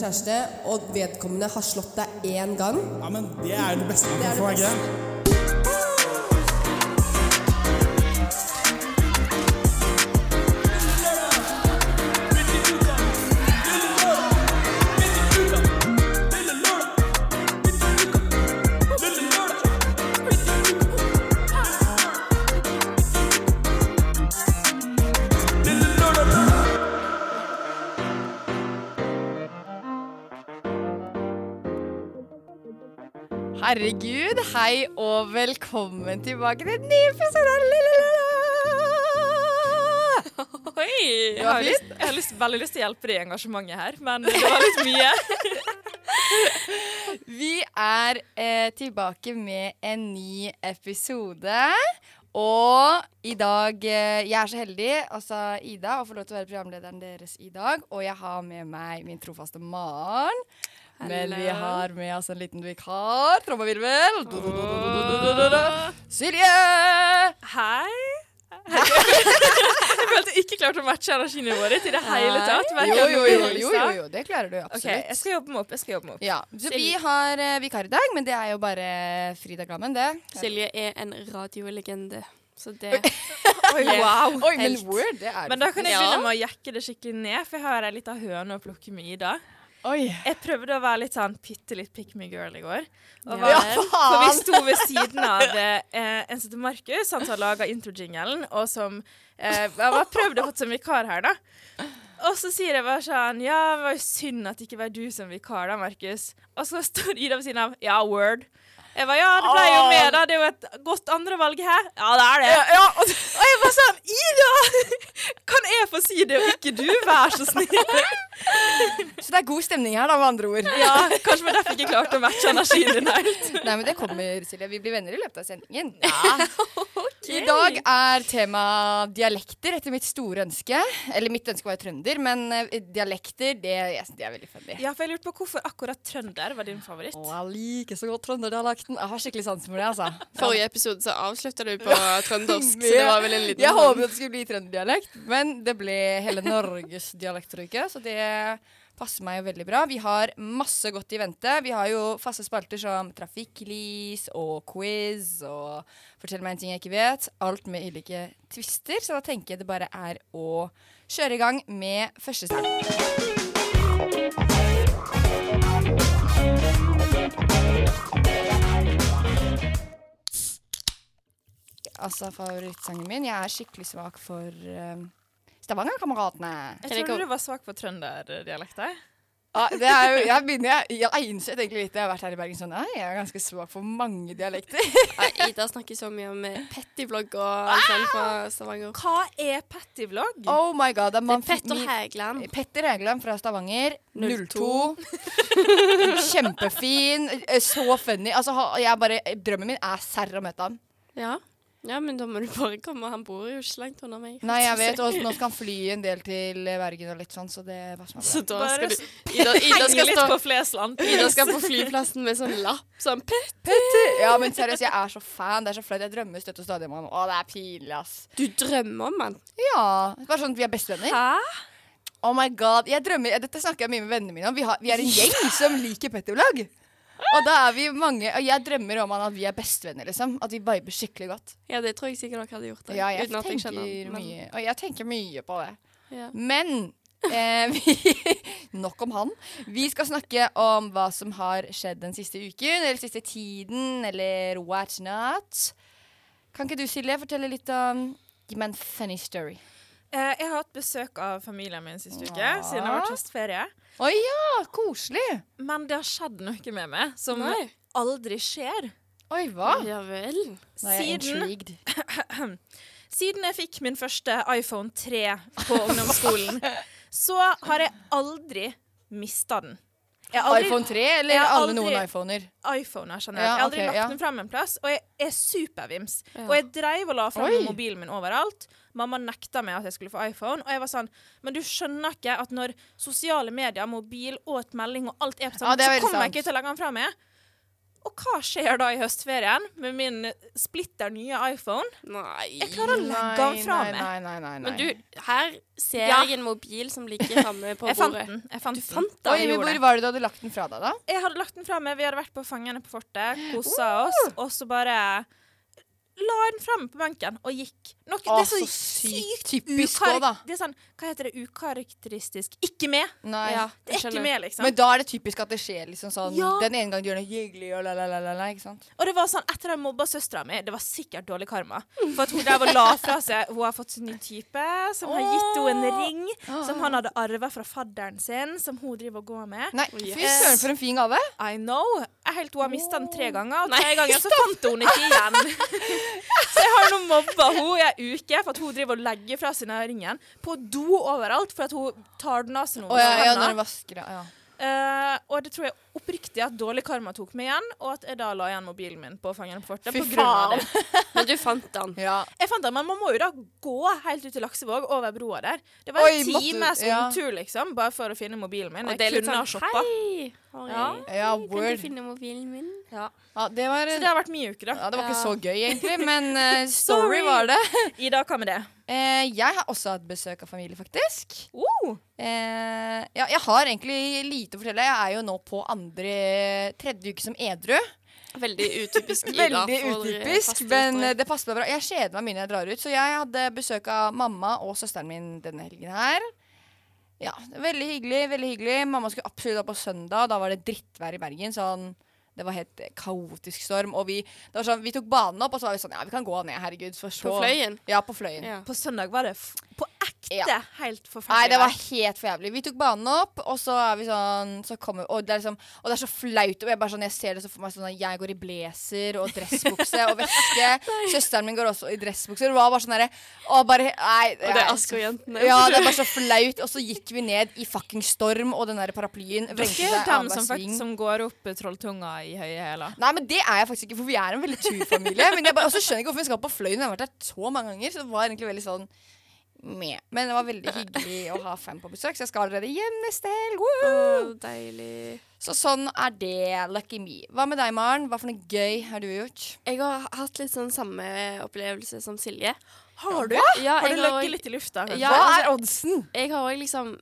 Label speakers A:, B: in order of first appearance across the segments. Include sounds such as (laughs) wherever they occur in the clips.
A: kjæreste, og vedkommende har slått deg én gang.
B: Ja, men det er jo det beste man
A: Det er
B: kan få,
A: det
B: er ikke det?
C: Herregud, hei og velkommen tilbake til en ny episode av Lillelilla!
D: (laughs) Oi! Jeg
C: var
D: har, lyst, jeg har lyst, veldig lyst til å hjelpe det engasjementet her, men det var litt
C: (laughs)
D: mye.
C: Vi er eh, tilbake med en ny episode. Og i dag eh, Jeg er så heldig, altså Ida, å få lov til å være programlederen deres i dag. Og jeg har med meg min trofaste Maren. Men vi
D: Hello.
C: har med oss en liten vikar. Trommevirvel.
D: Mm.
C: Silje!
D: Hei! Jeg følte jeg ikke klarte å matche energinivået ditt i det hele tatt.
C: Jo,
D: hverken
C: jo,
D: med
C: jo,
D: Lisa.
C: jo, jo, jo, det klarer du
D: OK,
C: absolutt.
D: jeg skal jobbe meg opp. jeg skal jobbe meg opp.
C: Ja, så
E: Silje.
C: vi har eh, vikar i dag, men det er jo bare Frida Glammen, det.
E: Silje er en radiolegende. Så det
D: Oi, wow.
C: Oi, men
E: helt.
C: word, det er
D: Men da kan jeg
E: Ja.
D: begynne med å jekke det skikkelig ned, for jeg har ei lita høne å plukke med Ida.
C: Oi.
D: Jeg prøvde å være litt sånn bitte litt pick me girl i går. Og
C: Ja,
D: var For vi
C: faen!
D: sto ved siden av eh, en som heter Markus, han som har laga introjingelen, og som eh, jeg var prøvd å få som vikar her, da. Og så sier jeg bare sånn Ja, det var jo synd at det ikke var du som vikar, da, Markus. Og så står Ida ved siden av. Ja, word. Jeg bare, ja, det ble jo med, da. Det er jo et godt andrevalg her. Ja, det er det. og, jeg var sånn Ida! Kan jeg få si det, og ikke du? Vær så snill.
C: Så det er god stemning her, da, med andre ord.
D: (laughs) Ja, kanskje det var derfor jeg ikke klarte å matche energien din helt.
C: (laughs) Nei, men det kommer, Silje. Vi blir venner i løpet av sendingen. (laughs) I dag er tema dialekter, etter mitt store ønske. Eller mitt ønske var jo trønder, men eh, dialekter, det, yes, det er veldig funny.
D: Ja, for jeg lurte på hvorfor akkurat trønder var din favoritt.
C: Å, jeg liker så godt trønderdialekten. Jeg har skikkelig sansen for det, altså.
E: Forrige episode så avslutta du på trøndersk, (laughs) så det var vel en liten
C: Jeg
E: sånn-
C: håpet det skulle bli trønderdialekt, men det ble hele Norges dialektuke, så det passer meg jo veldig bra. Vi har masse godt i vente. Vi har jo faste spalter som trafikklys og quiz og fortell meg en ting jeg ikke vet. Alt med ulike twister, så da tenker jeg det bare er å kjøre i gang med første sang. Altså favorittsangen min. Jeg er skikkelig svak for uh, Stavanger-kameratene.
D: Jeg
E: Kan
D: trodde
E: jeg ikke-
D: du var svak for trønderdialekt. jeg.
C: Ja, det er jo, jeg begynner, jeg, jeg har innsett egentlig litt, jeg har vært her i Bergen sånn, nei, jeg er ganske svak for mange dialekter.
E: Nei, (laughs) Ah! Ida snakker så mye om eh, pettivlogg og alt sånt fra Stavanger.
D: Hva er pettivlogg?
C: (laughs) Oh my god, det er man,
E: Petter
C: min-
E: Hægland.
C: Petter Hægeland fra Stavanger, 02.
E: 02.
C: (laughs) Kjempefin, eh, så funny. Altså, ha- jeg bare, drømmen min er serr å møte han.
E: Ja. ja, men da må du bare komme. Han bor jo ikke langt unna meg.
C: Nei, jeg vet, og nå skal han fly en del til Bergen og litt sånn, så det var sånn.
E: (laughs) Så da
D: Bare
E: skal du Ida, Ida,
D: Henger
E: skal
D: litt
E: stå,
D: på Flesland.
E: Ida skal på flyplassen med sånn lapp. Sånn pett.
C: Ja, men seriøst, jeg er så fan, det er så flaut. Jeg drømmer støtt og stadig om han. Å, det er pinlig, ass.
E: Du drømmer om han.
C: Ja, bare sånn at vi er bestevenner.
D: Hæ?
C: Oh my god, jeg drømmer, Dette snakker jeg mye med vennene mine om. Vi, har, vi er en gjeng som liker pettivlogg. Og da er vi mange, og jeg drømmer om han at vi er bestevenner. liksom At vi viber skikkelig godt.
E: Ja, det tror jeg sikkert dere hadde gjort. det,
C: Ja, jeg
E: uten at
C: tenker
E: kjenner han, men-
C: mye Og jeg tenker mye på det.
E: Ja.
C: Men eh, (laughs) vi, Nok om han. Vi skal snakke om hva som har skjedd den siste uken, eller siste tiden, eller what's not. Kan ikke du, Silje, fortelle litt om Give me a funny story.
D: Eh, jeg har hatt besøk av familien min siste uke,
C: Ja.
D: siden det har vært høstferie.
C: Å ja, koselig.
D: Men det har skjedd noe med meg som
E: Nei.
D: aldri skjer.
C: Oi, hva?
E: Ja vel.
C: Nå er jeg
D: Siden,
C: intrigued.
D: siden jeg fikk min første iPhone 3
E: (laughs)
D: på ungdomsskolen, så har jeg aldri mista den. Jeg har aldri
C: iPhone 3 eller
D: Jeg har
C: alle
D: aldri-
C: noen iPhoner?
D: iPhoner generelt.
C: Ja,
D: jeg har aldri
C: ok,
D: lagt
C: ja.
D: den frem en plass, og jeg er supervims.
E: Ja.
D: Og jeg dreiv og la frem
C: Oi.
D: mobilen min overalt. Mamma nekta meg at jeg skulle få iPhone, og jeg var sånn Men du skjønner ikke at når sosiale medier, mobil og et melding og alt er på
C: Ja,
D: sammen,
C: det er
D: så
C: veldig
D: kommer
C: sant.
D: jeg ikke til å legge den fra meg. Og hva skjer da i høstferien med min splitter nye iPhone?
E: Nei.
D: Jeg klarer å legge den fra
C: nei,
D: meg.
C: nei, nei, nei, nei.
E: Men du, her ser
D: Ja.
E: jeg en mobil som ligger framme på (laughs)
D: Jeg fant
E: bordet.
D: den. Jeg, fant
E: Du
D: den.
E: fant den?
C: Oi, men hvor var det du hadde lagt den fra deg, da?
D: jeg hadde lagt den fra meg. Vi hadde vært på Fangene på fortet, kosa oss, og så bare la jeg den fram på benken og gikk. Nok,
C: Å,
D: det er så,
C: så sykt
D: sykt
C: typisk
D: ukar-
C: også, da.
D: Det er sånn, hva heter det, ukarakteristisk? Ikke med!
C: Nei.
E: Ja,
D: Det er
E: jeg skjønner.
D: ikke med, liksom.
C: Men da er det typisk at det skjer liksom sånn
D: Ja.
C: Den ene gang du gjør noe hyggelig og la, la, la, la, la, ikke sant?
D: Og det var sånn, etter at jeg mobba søstera mi, det var sikkert dårlig karma. For at hun der var la fra seg Hun har fått sin nye type, som har gitt henne en ring, som han hadde arva fra fadderen sin, som hun driver og går med.
C: Nei,
E: Oh,
C: fy
E: yes.
C: søren for en fin gave.
D: I know. Jeg helt hun har mista den tre ganger, og tre ganger så fant hun den ikke igjen.
C: (laughs)
D: så jeg har nå mobba hun i ei uke for at hun driver og legger fra seg den ringen på do overalt for at hun tar den av seg nå.
C: Å ja, ja,
D: med
C: når du
D: hendene.
C: vasker ja.
D: Eh, og det tror jeg oppriktig at dårlig karma tok meg igjen, og at jeg da la igjen mobilen min på fangene på fortet
C: Fy
D: på grunn av det.
E: Men du fant den.
C: ja.
D: Jeg fant at Man må jo da gå helt ut til Laksevåg, over broa der. Det var
C: Oi,
D: en
C: måtte-
D: times
C: ja.
D: omtur, liksom, bare for å finne mobilen min.
E: Og det
D: Jeg
E: er litt
D: kunne ha
E: sånn
D: shoppa.
E: Hei! Har
D: Ja.
E: jeg-
C: Ja,
E: Kan
C: word.
E: du finne mobilen min?
C: ja, det var
D: Så det har vært min uke, da. Eh,
C: ja, det var ikke
E: Ja.
C: så gøy, egentlig, men eh, (laughs) story var det.
D: Ida, hva med det?
C: Eh, jeg har også hatt besøk av familie, faktisk.
D: Oh,
C: Eh, ja, jeg har egentlig lite å fortelle. Jeg er jo nå på andre tredje uke som edru.
E: Veldig
C: (laughs)
E: utypisk Ida.
C: Veldig
E: for, eh,
C: utypisk,
E: faste
C: men eh,
E: lyttere.
C: det passer meg bra. Jeg kjeder meg mye når jeg drar ut, så jeg hadde besøk av mamma og søsteren min denne helgen her. Ja, veldig hyggelig, veldig hyggelig. Mamma skulle absolutt opp på søndag, da var det drittvær i Bergen, sånn det var helt eh, kaotisk storm, og vi, det var sånn, vi tok banen opp, og så var vi sånn, ja, vi kan gå ned, herregud. For så.
E: På Fløyen?
C: Ja, på fløyen.
E: Ja.
D: på søndag var det f på ekte
C: Ja.
D: helt forferdelig.
C: Nei, det var helt for jævlig. Vi tok banen opp, og så er vi sånn så kommer, og, det er liksom, og det er så flaut. Og jeg, bare sånn, jeg ser det så for meg sånn at jeg går i blazer og dressbukse og
E: (laughs)
C: veske. Søsteren min går også i dressbukser. Det var bare sånn derre Og bare Nei.
E: Og det er Asker-jentene.
C: Ja, det er bare så flaut. Og så gikk vi ned i fucking storm, og den der paraplyen
D: Det er
C: vrengte
D: ikke
C: seg
D: dem
C: annenhver
D: som,
C: sving.
D: faktisk, som går opp eh, trolltunga i høye hæler.
C: Nei, men det er jeg faktisk ikke, for vi er en veldig turfamilie. men jeg bare, også skjønner jeg ikke hvorfor vi skal på Fløyen. Jeg har vært der så mange ganger, så det var egentlig veldig sånn meh. Men det var veldig hyggelig å ha fan på besøk, så jeg skal allerede hjem neste helg. Woo!
E: Å, deilig.
C: Så sånn er det, lucky me. Hva med deg, Maren? Hva for noe gøy har du gjort?
E: Jeg har hatt litt sånn samme opplevelse
C: (gasps)
E: som Silje.
D: Har du?
E: Ja,
D: Har du
E: jeg
D: ligget
E: og-
D: litt i lufta? kanskje?
E: Ja,
C: Hva
E: altså-
C: er oddsen?
E: Jeg har òg liksom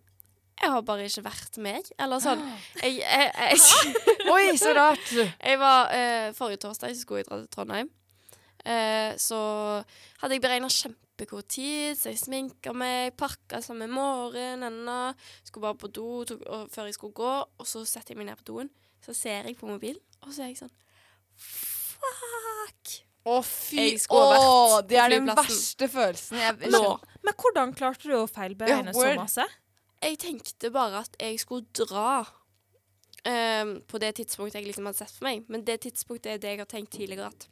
E: Jeg har bare ikke vært meg. Eller
C: (gasps)
E: sånn Jeg, jeg, jeg,
C: Oi, så rart.
E: jeg var eh, Forrige torsdag så skulle jeg dra til Trondheim. Eh, så hadde jeg beregna kjempegod tid, så jeg sminka meg, pakka sammen morgen, nanna, skulle bare på do tok, og, før jeg skulle gå, og så setter jeg meg ned på doen. Så ser jeg på mobilen, og så er jeg sånn Fuck!
C: Å, fy.
E: Jeg skulle vært
C: Å,
E: på
C: det er den
E: flyplassen.
C: verste følelsen jeg
E: Nå.
D: Men hvordan klarte du å feilberegne
C: Ja,
D: så
C: word.
D: masse?
E: Jeg tenkte bare at jeg skulle dra ehm, på det tidspunktet jeg liksom hadde sett for meg. Men det tidspunktet er det jeg har tenkt tidligere at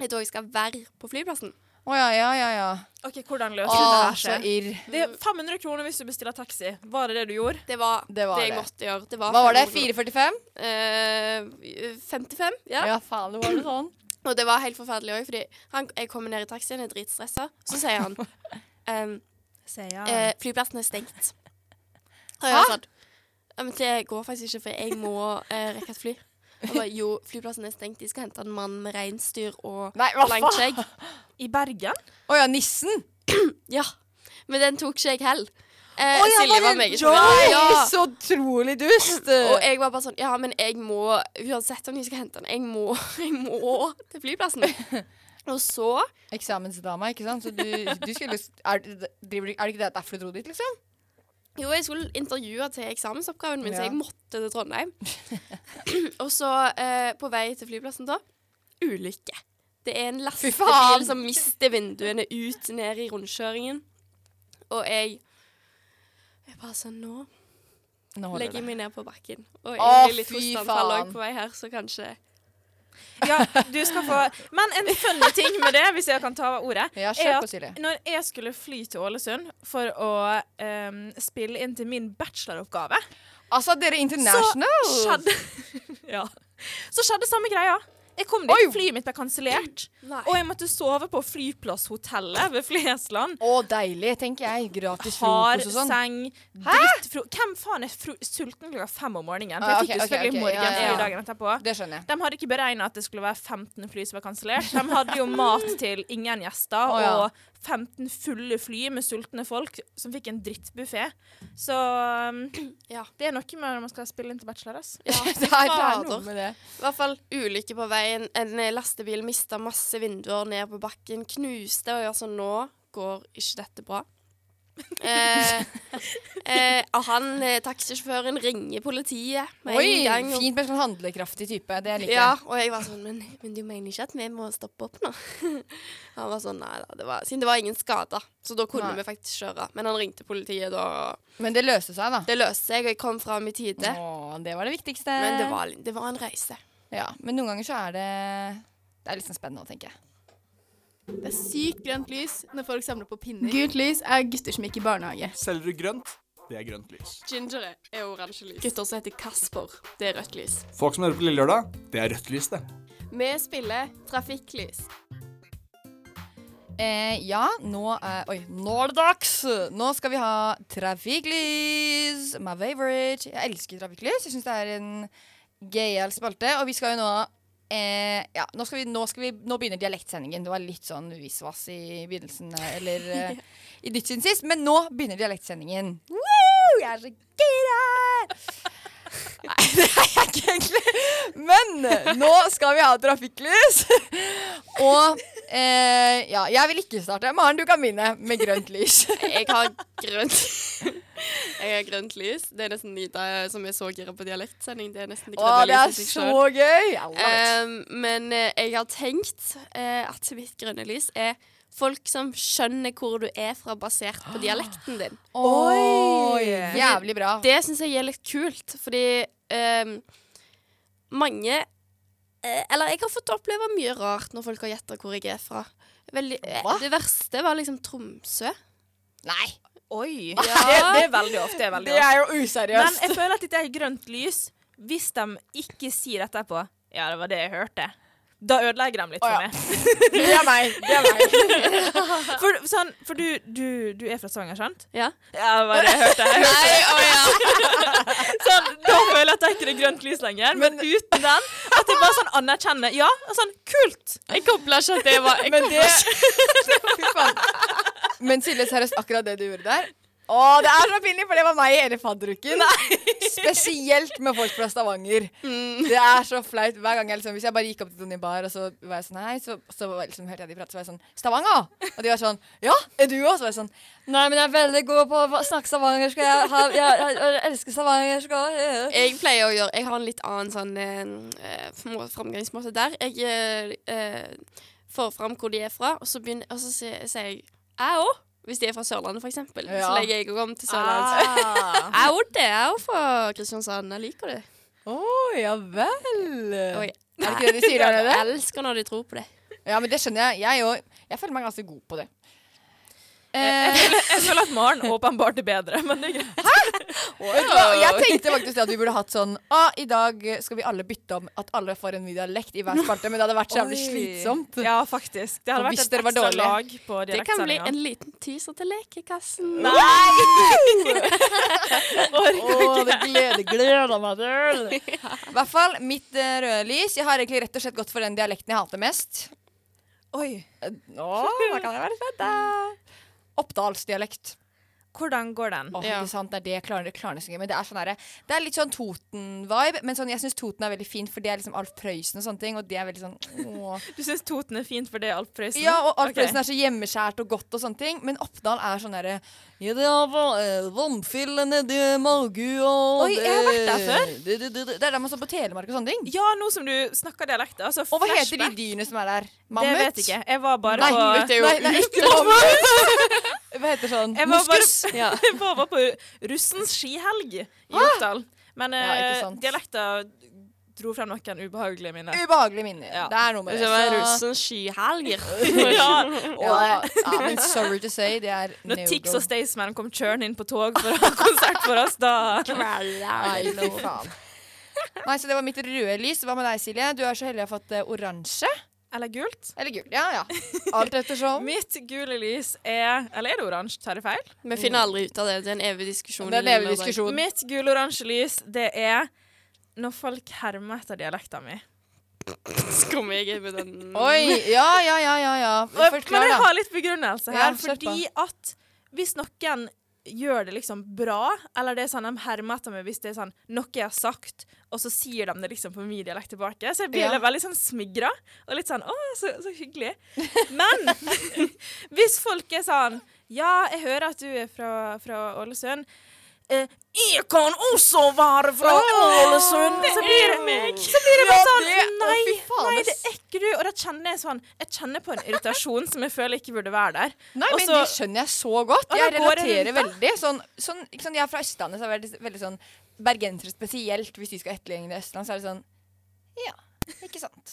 E: jeg tror jeg skal være på flyplassen.
C: Å ja, ja, ja. ja.
D: Ok, hvordan løste
C: Å,
D: du det her
C: så
D: selv?
C: irr.
D: Det er 500 kroner hvis du bestiller taxi. Var det det du gjorde?
E: Det var
C: Det
E: det,
C: var
E: jeg
C: det.
E: måtte gjøre. Det var
C: Hva var det?
E: 500.
C: 4,45?
E: Eh, 55, ja.
C: Ja, faen, det var det sånn.
E: Og det var helt forferdelig òg, fordi han, jeg kommer ned i taxien, er dritstressa, så sier
C: (laughs)
E: han ehm,
D: Sier jeg.
E: eh, Flyplassen er stengt. Og jeg var sånn «Ja, Men det går faktisk ikke, for jeg må eh, rekke et fly. Og bare, jo, flyplassen er stengt. De skal hente en mann med reinsdyr og
C: Nei, hva
E: langt
C: faen?
E: skjegg.
D: I Bergen?
C: Å ja, nissen.
E: Ja, men den tok ikke jeg heller. Eh,
C: Å, ja,
E: Silje
C: det
E: var
C: en
E: meget
C: joke?
E: forvirret. Ja.
C: Så utrolig dust.
E: Og jeg var bare sånn Ja, men jeg må Uansett om de skal hente den, jeg må, (laughs) jeg må til
C: (laughs)
E: flyplassen. Og så
C: Eksamensdama, ikke sant? Så du, du skulle er, driver, du- er det ikke det at det er derfor du dro dit, liksom?
E: Jo, jeg skulle intervjue til eksamensoppgaven min,
C: Ja.
E: så jeg måtte til Trondheim.
C: (laughs)
E: (clears throat) Og så, eh, på vei til flyplassen da Ulykke. Det er
C: faen!
E: en lastebil som mister vinduene ut ned i rundkjøringen. Og jeg Jeg bare sånn Nå
C: Nå
E: legger jeg meg ned på bakken. Og
C: Å,
E: jeg blir litt
C: fy
E: hosteanfall
C: faen.
E: også på vei her, så kanskje
D: Ja, du skal få Men en funny ting med det, hvis jeg kan ta ordet,
C: Ja,
D: er
C: kjør på,
D: at
C: Silje.
D: når jeg skulle fly til Ålesund for å ehm, spille inn til min bacheloroppgave,
C: Altså, dere er
D: så
C: international!
D: (laughs) skjedde Ja. Så skjedde samme greia. Jeg kom dit,
C: Oi!
D: flyet mitt ble kansellert.
E: Nei.
D: Og jeg måtte sove på flyplasshotellet ved Flesland.
C: Å, deilig, tenker jeg. Gratis
D: Hard
C: frokost og sånn.
D: seng, drittfro... Hvem faen er fro sulten klokka fem om morgenen? For
C: Ah, ok,
D: jeg fikk
C: ok,
D: jo
C: ok,
D: selvfølgelig
C: ja,
D: morgen
C: ja, ja.
D: dagen etterpå.
C: Det skjønner jeg.
D: De hadde ikke beregna at det skulle være 15 fly som var kansellert. De hadde jo mat til ingen gjester
C: Å, ja.
D: og 15 fulle fly med sultne folk som fikk en drittbuffé. Så um,
E: Ja.
D: det er noe med når man skal spille inn til bachelor. Ass.
E: Ja,
C: (laughs) Det er, det er noe med det.
E: I hvert fall ulykke på veien. En eh, lastebil mista masse vinduer ned på bakken, knuste og gjør sånn Nå går ikke dette
C: (laughs)
E: bra. Eh, eh, og han eh, taxisjåføren ringer politiet med
C: Oi,
E: en gang. Og,
C: fint med sånn handlekraftig type. Det liker
E: ja,
C: jeg.
E: og jeg var sånn men, men du mener ikke at vi må stoppe opp nå? (laughs) han var sånn Nei da, det var, siden det var ingen skader. Så da kunne
C: Nei.
E: vi faktisk kjøre. Men han ringte politiet da, og
C: Men det løste seg, da.
E: det løste seg, og jeg kom fram i tide.
C: Å, det var det viktigste.
E: Men det var, det var en reise.
C: ja, men noen ganger så er det Det er litt sånn spennende å tenke.
B: Det er sykt grønt lys når folk samler på pinner. Gult lys er gutter som gikk i barnehage.
F: Selger du grønt, det er grønt lys.
E: Ginger er oransje lys. Gutter som heter Kasper, det er rødt lys.
F: Folk som hører på Lille Lørdag, det er rødt lys, det.
E: Vi spiller trafikklys.
C: Eh, ja, nå er Oi, nå er det dags! Nå skal vi ha trafikklys! My favorite. Jeg elsker trafikklys. Jeg syns det er en gøyal spalte. Og vi skal jo nå eh, Ja, nå, skal vi, nå, skal vi, nå begynner dialektsendingen. Det var litt sånn visvas i begynnelsen, eh, eller (laughs) eh, i ditt sin sist, men nå begynner dialektsendingen. Woo! Jeg er så gira! (laughs) Nei, det er jeg ikke egentlig. Men eh, nå skal vi ha trafikklys. (laughs) Og eh, ja, jeg vil ikke starte. Maren, du kan begynne med grønt (laughs) lys.
E: Jeg har grønt Jeg har grønt lys. Det er nesten Nida som er så gira på dialektsending. Det er nesten det
C: Å,
E: grønne
C: det er
E: lyset i seg
C: så
E: selv.
C: gøy! I love it.
E: Ehm, men eh, jeg har tenkt eh, at mitt grønne lys er folk som skjønner hvor du er fra, basert på
C: (gasps)
E: dialekten din.
C: Oi! Jævlig bra.
E: Det syns jeg er litt kult, fordi ehm, mange eh, Eller jeg har fått oppleve mye rart når folk har gjetta hvor jeg er fra. Veldig, eh,
C: Hva?
E: det verste var liksom Tromsø.
C: Nei,
D: Oi! Det,
E: Ja.
D: det er veldig ofte. Det er veldig
C: det
D: ofte.
C: er jo
D: Men
C: useriøst.
D: jeg føler at dette er grønt lys hvis de ikke sier etterpå Ja, det var det jeg hørte. Da ødelegger de litt
C: Å,
D: for
C: ja.
D: meg.
C: Det er meg. Det er meg.
D: For, sånn, for du, du, du er fra Stavanger, sant?
E: Ja.
D: Ja, det var det jeg hørte.
E: Nei, å ja.
D: (laughs) Sånn, da føler jeg at det er ikke det grønt lys lenger, men uten den At jeg bare sånn anerkjenner. Ja, og sånn kult!
E: Jeg kobla ikke at det var jeg
C: Men
E: koblet
C: det (laughs) Fy faen. Men Silje, seriøst, akkurat det du gjorde der Å, det er så pinlig, for det var meg i hele fadderuken. Spesielt med folk fra Stavanger. Det er så flaut. Hver gang jeg liksom, Hvis jeg bare gikk opp til noen i bar, og så var jeg sånn Hei, så, så var jeg liksom, hørte jeg de prate, så var jeg sånn Stavanger! Og de var sånn Ja, er du òg? Så var jeg sånn Nei, men jeg er veldig god på å snakke stavangersk. og Jeg, har- jeg, jeg, jeg elsker stavangersk. og-
E: Jeg pleier å gjøre Jeg har en litt annen sånn eh, må- framgangsmåte der. Jeg eh, eh, får fram hvor de er fra, og så, begynner, og så sier, sier jeg «Jeg òg», hvis de er fra Sørlandet, f.eks. eksempel Så
C: Ja. Ah.
E: legger jeg om til Sørlandet.
D: Ah.
E: Jeg òg det. Jeg er også fra Kristiansand. Jeg liker det.
C: Å, ja vel.
E: Oi.
C: Er det ikke det de sier der nede?
E: Jeg elsker når de tror på det.
C: Ja, men det skjønner jeg. Jeg, òg. jeg føler meg ganske god på det.
D: Jeg føler, jeg føler at Maren åpenbart er bedre, men det er greit.
C: Vet du hva? Jeg tenkte faktisk at vi burde hatt sånn ah, I dag skal vi alle bytte om at alle får en ny dialekt i hver spalte, men det hadde vært så jævlig slitsomt.
D: Ja, faktisk. Det
C: Og
D: hadde
C: hvis
D: vært et
C: dere var
D: ekstra
C: dårlige.
D: lag på
E: Det kan bli en
D: direktsendinga.
E: liten teaser til Lekekassen.
C: Åh, (laughs) (laughs) det gleder, gleder meg til!
D: (laughs)
C: I hvert fall mitt eh, røde lys. Jeg har egentlig rett og slett gått for den dialekten jeg hater mest. Eh,
D: Oi.
C: Nå, da kan jeg være spent, da. Oppdalsdialekt.
D: Hvordan går den?
C: Åh,
E: Ja.
C: ikke sant? Det er det jeg klarer, klarer nesten ikke. Men det er, sånn herre- det er litt sånn Toten-vibe. Men sånn, jeg syns Toten er veldig fin, for det er liksom Alf Prøysen og sånne ting. Og det er veldig sånn åh.
D: Du syns Toten er fint for det, Alf Prøysen?
C: Ja, og alt
D: Ok.
C: resten er så hjemmeskjært og godt og sånne ting. Men Oppdal er sånn derre Ja, det er va- eh, vannfyll nedi magu og
D: Oi, jeg har vært der før.
C: Det, det, det, det, det er der man står på Telemark og sånne ting.
D: Ja, nå som du snakker dialekter, altså
C: Og hva
D: flashback
C: heter de dyrene som er der?
D: Det vet jeg ikke. Jeg var bare
C: Nei,
D: på
C: mammut er jo nei, nei, (laughs) ikke mammut. Hva heter sånn?
D: Jeg var
C: Moskus.
D: (laughs) bare jeg var bare på russens skihelg i Oppdal. Men
C: Ja, ikke
D: eh,
C: sant.
D: dialekter dro frem noen ubehagelige minner.
C: Ubehagelig minne.
D: Ja.
C: Det er noe med det. Så-
E: skyhelger.
D: (laughs) ja,
C: Ja,
D: og
C: ja, men sorry to say, det er
D: når
C: no
D: Tix
C: go.
D: og Staysman (laughs) kom kjørende inn på tog for å ha konsert for oss, da
C: Nei, fy faen. Nei, så det var mitt røde lys. Hva med deg, Silje? Du er så heldig jeg har fått eh, oransje.
D: Eller gult.
C: Eller gul. Ja,
D: (laughs)
C: ja. Alt ettersom.
D: Mitt gule lys er Eller er det oransje? Tar jeg feil?
E: Vi finner aldri ut av det. Det er en evig diskusjon.
C: Det er en
E: i
C: evig
E: lørdag.
C: diskusjon.
D: Mitt gul-oransje lys, det er når folk hermer etter dialekta mi.
E: Skummer jeg er med (laughs) den.
C: Oi, ja, ja, ja, ja. ja.
D: Og- Mm. Men
C: Forklar,
D: jeg
C: da.
D: har litt begrunnelse
C: Ja,
D: her,
C: kjør
D: fordi at hvis noen gjør det liksom bra, eller det er sånn de hermer etter meg hvis det er sånn noe jeg har sagt, og så sier de det liksom på min dialekt tilbake, så jeg blir
C: Ja.
D: veldig sånn smigra, og litt sånn å, så, så hyggelig. Men (laughs) hvis folk er sånn ja, jeg hører at du er fra, fra Ålesund. Eh, jeg kan også være fra Ålesund! Så blir det meg! Så blir det bare sånn
C: det- å,
D: Nei,
C: fy faen,
D: nei, det
C: ass.
D: er ikke du! Og da kjenner jeg sånn Jeg kjenner på en irritasjon som jeg føler ikke burde være der.
C: Nei, men
D: Også-
C: det skjønner jeg så godt.
D: Og
C: Jeg
D: da altså- går jeg
C: relaterer
D: rundt,
C: veldig. Sånn, sånn, ikke sant, jeg er fra Østlandet, så er det veldig, veldig sånn Bergensere spesielt, hvis de skal etterligne Østland, så er det sånn Ja, ikke sant.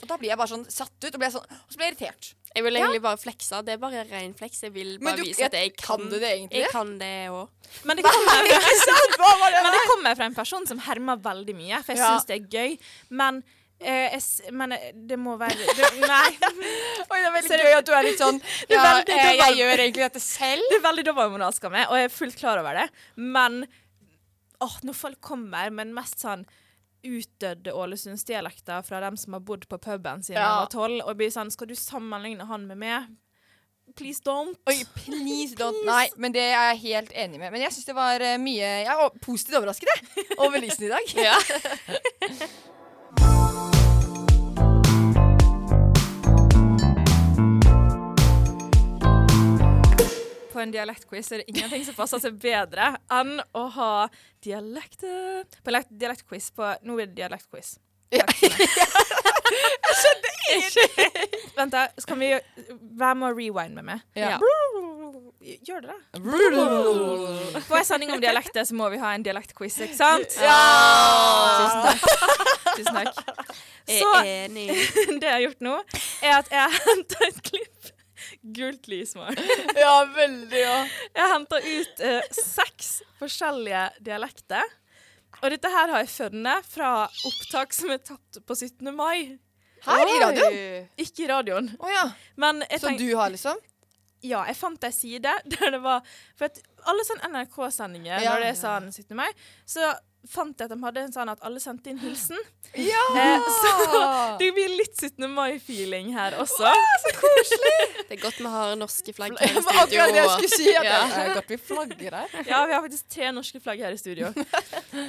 C: Og da blir jeg bare sånn satt ut, og, blir jeg sånn, og så blir jeg irritert.
E: Jeg vil egentlig bare flekse. Det er bare ren fleks. Jeg vil
C: Men
E: bare
C: du-
E: vise at jeg
C: kan
E: kan,
C: du det egentlig?
E: Jeg kan det òg.
D: Men det kommer, (laughs)
C: Hva var det?
D: men det kommer fra en person som hermer veldig mye, for jeg
C: Ja.
D: syns det er gøy. Men, eh, jeg, s- men eh, det må være
C: (laughs)
D: det, Nei.
C: Oi, det er veldig gøy at du er litt sånn Ja,
D: veldig- det er
C: eh, jeg
D: veldig-
C: gjør egentlig dette selv.
D: Det er veldig dobbeltmoralsk av meg, og jeg er fullt klar over det. Men åh, når folk kommer med den mest sånn utdødde Ålesundsdialekter fra dem som har bodd på puben siden de
C: Ja.
D: var tolv, og blir sånn Skal du sammenligne han med meg? Please don't.
C: Oi, please don't Nei, men det er jeg helt enig med. Men jeg syns det var eh, mye Jeg er o- positivt overrasket, jeg, over lysen i dag.
E: Ja.
D: På en dialektquiz er det ingenting som passer seg bedre enn å ha dialekter På dialekt- dialektquiz på Nå blir det dialektquiz. Jeg skjønte ingenting! Vent, da. Skal vi Vær med og rewind med meg.
C: Ja.
D: Gjør det, da. På en sending om dialekter så må vi ha en dialektquiz, ikke sant? Tusen takk. Tusen takk.
E: Jeg
D: Så
E: er enig.
D: (laughs) det jeg har gjort nå, er at jeg har henta et klipp. Gult lys, Mar.
C: (laughs) Ja, veldig, ja.
D: Jeg har henta ut eh, seks forskjellige dialekter. Og dette her har jeg funnet fra opptak som er tatt på 17. mai.
C: Her i radioen.
D: Ikke i radioen.
C: Å ja.
D: Men jeg
C: Så
D: tenk-
C: du har liksom
D: ja, jeg fant ei side der det var For at alle sånne NRK-sendinger,
C: Ja.
D: når det er sånn 17. mai, så fant jeg at de hadde en sånn at alle sendte inn hilsen.
C: Ja!
D: Eh, så (laughs) det blir litt 17. mai-feeling her også.
E: Det er godt vi har norske
C: (laughs)
E: flagg
C: Det
E: her i
C: var akkurat det jeg
E: studio.
C: skulle si. At
E: Ja.
C: det er godt vi flagger her.
D: Ja, vi har faktisk tre norske flagg her i (laughs) studio.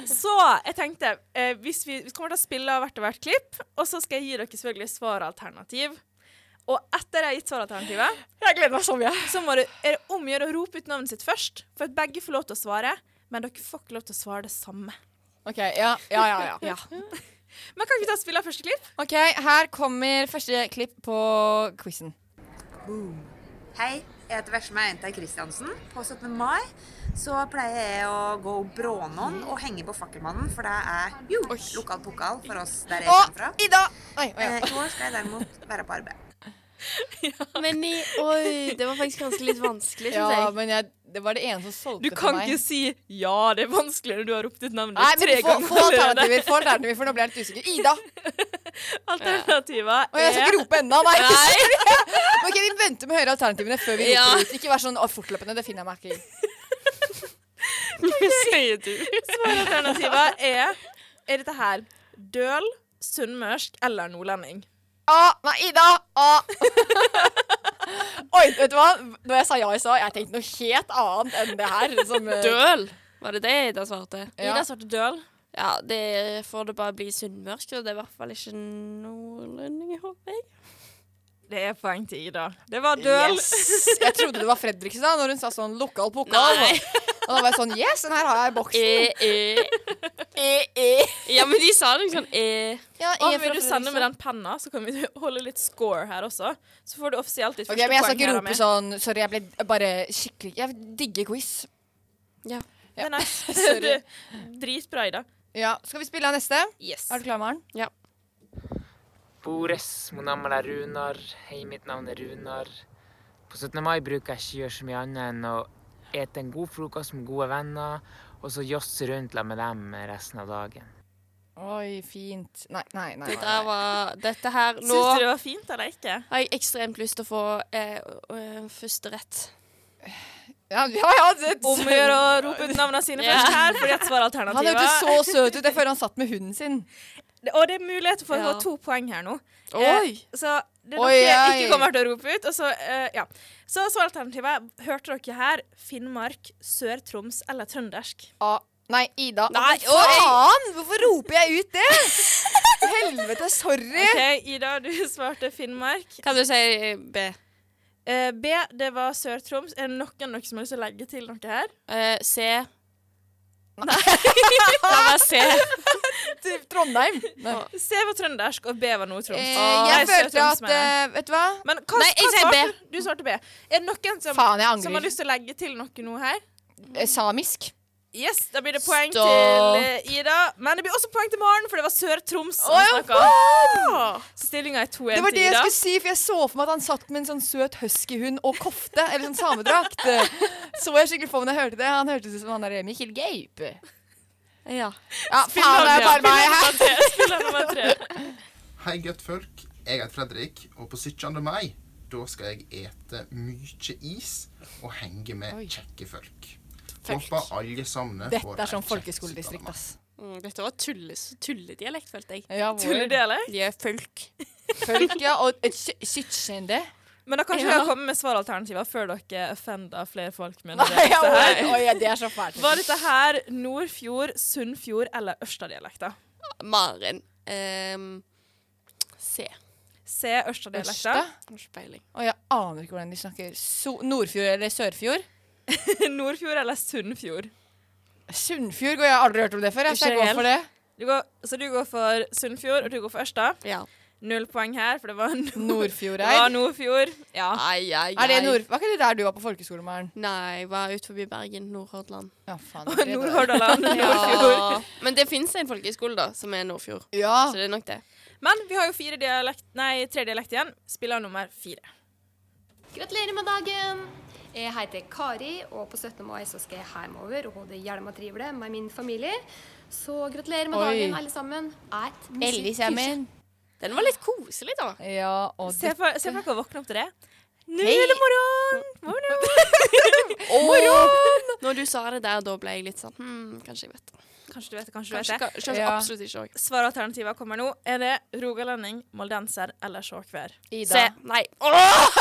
D: Så jeg tenkte eh, hvis vi, vi kommer til å spille av hvert og hvert klipp, og så skal jeg gi dere selvfølgelig svaralternativ. Og etter jeg har gitt svaralternativet,
C: Jeg gleder meg så mye.
D: så må du, er det om å gjøre å rope ut navnet sitt først. For at begge får lov til å svare, men dere får ikke lov til å svare det samme.
C: Ok, ja, ja, ja, ja.
D: Men kan ikke vi ta og spille av første klipp?
C: Ok, Her kommer første klipp på quizen.
G: Hei, jeg heter Vesma Jenta Kristiansen. På 17. mai så pleier jeg å gå brånån og henge på Fakkelmannen, for det er jo lokal pokal for oss der jeg kommer fra.
C: Og Ida! Oi, oi,
G: Eh,
C: oi.
G: I år skal jeg derimot være på arbeid.
E: Men i Oi, det var faktisk ganske litt vanskelig, syns
C: Ja,
E: jeg.
C: men jeg, det var det ene som solgte
D: Du
C: for
D: kan
C: meg.
D: ikke si 'ja, det er vanskelig' når du har ropt ut navnet
C: Nei,
D: ditt
C: men
D: tre
C: få,
D: (laughs) ganger.
C: få alternativer, få alternativer, for nå ble jeg litt usikker. Ida!
D: Alternativet
C: Og jeg skal
D: er
C: ikke rope ennå, nei. Men (laughs) ok, Vi venter med å høre alternativene før vi roper
E: Ja.
C: ut. Ikke vær sånn «Å, fortløpende. Det finner jeg meg ikke i.
E: Sier du.
D: Svaralternativet er Er dette her døl, sunnmørsk eller nordlending?
C: Ah, nei, Ida! Ah. (laughs) Oi, vet du hva? Når jeg sa ja i stad, jeg tenkte noe helt annet enn det her. Som, eh,
E: Døl! Var det det Ida svarte?
C: Ja.
D: Ida svarte døl.
E: Ja, det får det bare bli sunnmørsk. og Det er i hvert fall ikke nordlending, håper jeg.
D: Det er poeng til Ida. Det var døl.
C: Yes. Jeg trodde det var Fredriksen da Når hun sa sånn lokal pokal
E: Nei.
C: Og da var jeg sånn, yes, den her har jeg i boksen
E: E-e. E-e. Eh, Ja, men de sa det liksom e.
C: ja,
D: Og Eh, vil du sende med den penna, så kan vi (laughs) holde litt score her også. Så får du offisielt ditt
C: Ok,
D: første
C: men jeg skal
D: poeng
C: ikke
D: her av
C: rope
D: meg.
C: sånn Sorry, jeg ble bare skikkelig Jeg digger quiz
D: Det er nice.
C: (laughs) Sorry.
D: (laughs) Du- Dritbra, Ida.
C: Ja, skal vi spille av neste?
D: Yes.
C: Er du klar, Maren?
H: Bores, mitt navn er Runar. Hei, mitt navn er Runar. På 17. mai bruker jeg ikke gjøre så mye annet enn å ete en god frokost med gode venner, og så josse rundt la med dem resten av dagen.
C: Oi, fint. Nei, nei, nei.
E: Det der var Dette her Nå
D: Syns du det var fint eller
C: (laughs)
D: ikke?
E: har jeg ekstremt lyst til å få eh, ø- ø, første rett.
C: Ja, ja, ja det,
D: Om å gjøre å rope ut navnene sine
E: Ja.
D: først her, fordi at
C: han
D: svaralternativet
C: hørtes så søt ut. Jeg føler han satt med hunden sin.
D: Det- Og det er mulighet for å
E: Ja.
D: få to poeng her nå.
C: Oi.
D: Eh, så det er noe
C: Oi,
D: jeg
C: oi.
D: ikke kommer til å rope ut. Og så, eh, ja. så svaralternativet hørte dere her. Finnmark, Sør-Troms eller trøndersk.
C: Ah, nei, Ida.
E: Nei,
C: Hva faen? Hvorfor roper jeg ut det?
D: (laughs)
C: Helvete, sorry.
D: OK, Ida, du (laughs) svarte Finnmark.
E: Kan du si B?
D: Eh, B, det var Sør-Troms. Er det noen av dere som har lyst til å legge til noe her?
E: Eh, C? Nei. (laughs) Det var C.
C: Til Trondheim.
D: (laughs)
C: Nei.
D: C var trøndersk, og B var Nord-Troms.
C: Eh, jeg
D: Nei,
C: følte
D: Sør-Troms,
C: at
D: mener jeg.
C: eh, Vet du hva?
D: Men hva,
E: Nei, jeg
D: hva
E: sier B.
D: svarte du? Du svarte B. Er det noen som,
C: Faen, jeg
D: som har
C: angrer.
D: lyst til å legge til noe nå her?
C: Eh, Samisk.
D: Yes, Da blir det poeng
E: Stopp.
D: til eh, Ida. Men det blir også poeng til Maren, for det var Sør-Troms. som
C: Å, ja,
D: snakket. Så stillinga er 2-1 til Ida.
C: Det var det jeg skulle si, for jeg så for meg at han satt med en sånn søt huskyhund og kofte, eller sånn (laughs) samedrakt. Så jeg skikkelig for meg når jeg hørte det. Han hørtes ut som han der eh, Mikkel Gaupe.
E: Ja.
C: Ja, faen, det er bare meg her.
D: Spiller nummer
C: (laughs)
D: tre.
I: Hei, guttfolk. Jeg heter Fredrik, og på 17. mai da skal jeg ete mye is og henge med kjekke folk. Håper alle sammen får
C: Dette er
I: en
C: sånn
I: kjekk
C: folkeskoledistrikt,
I: 17. mai.
C: ass.
E: Mm, dette var tulles, tulledialekt, følte jeg.
C: Ja, vår
D: Tulledeler.
E: De er folk.
C: folk, ja. Og et sy- (laughs) sytskjende.
D: Men da kanskje
E: Ja.
D: dere kommer med svaralternativer før dere offender flere folk. med
C: Nei,
D: det.
C: ja, vår. Oi, ja, det er så fælt.
D: Var dette her Nordfjord, Sunnfjord eller Ørstadialekter?
E: Maren. ehm, C.
D: C. Ørstadialekter.
C: Ørsta?
E: Har ikke peiling.
C: Å, jeg aner ikke hvordan de snakker. So Nordfjord eller Sørfjord?
D: (laughs) Nordfjord eller Sunnfjord?
C: Sunnfjord? og Jeg har aldri hørt om det før. Jeg, så jeg
D: Ikke
C: går for det.
D: Du går, så du går for Sunnfjord, og du går for Ørsta.
E: Ja.
D: Null poeng her, for det var, nord, det var
C: Nordfjordeid.
D: Nordfjord. Ja.
E: Ai, ai,
C: Er det
E: ai.
C: nord... Var ikke det der du var på folkeskole, Maren?
E: Nei, var ut forbi Bergen, Nordhordland.
C: Ja, faen.
D: (laughs)
C: det er det.
D: Nordhordaland, Nordfjord.
E: Ja. Men det fins en folkehøyskole, da, som er Nordfjord.
C: Ja.
E: Så det er nok det.
D: Men vi har jo fire dialekt, nei, tre dialekter igjen. Spiller nummer fire.
J: Gratulerer med dagen! Jeg heter Kari, og på 17. mai så skal jeg hjemover og ha det hjelma trivelig med min familie. Så gratulerer med
C: Oi.
J: dagen, alle sammen. Et musikk-
E: Den var litt koselig, da.
C: Ja, og
D: Se
C: det
D: for se for dere å våkne opp til det. Nå er det morgen! Morgen!
E: Når du sa det der, da ble jeg litt sånn hmm, Kanskje jeg vet det.
D: (laughs) Kanskje du vet det, kanskje du
E: Kanskje,
D: vet det.
E: kanskje
C: Ja.
E: absolutt ikke òg.
D: Svaralternativet kommer nå. Er det rogalending, moldenser eller sjåkvær?
E: Se.
C: Ida.
E: Nei. Åh!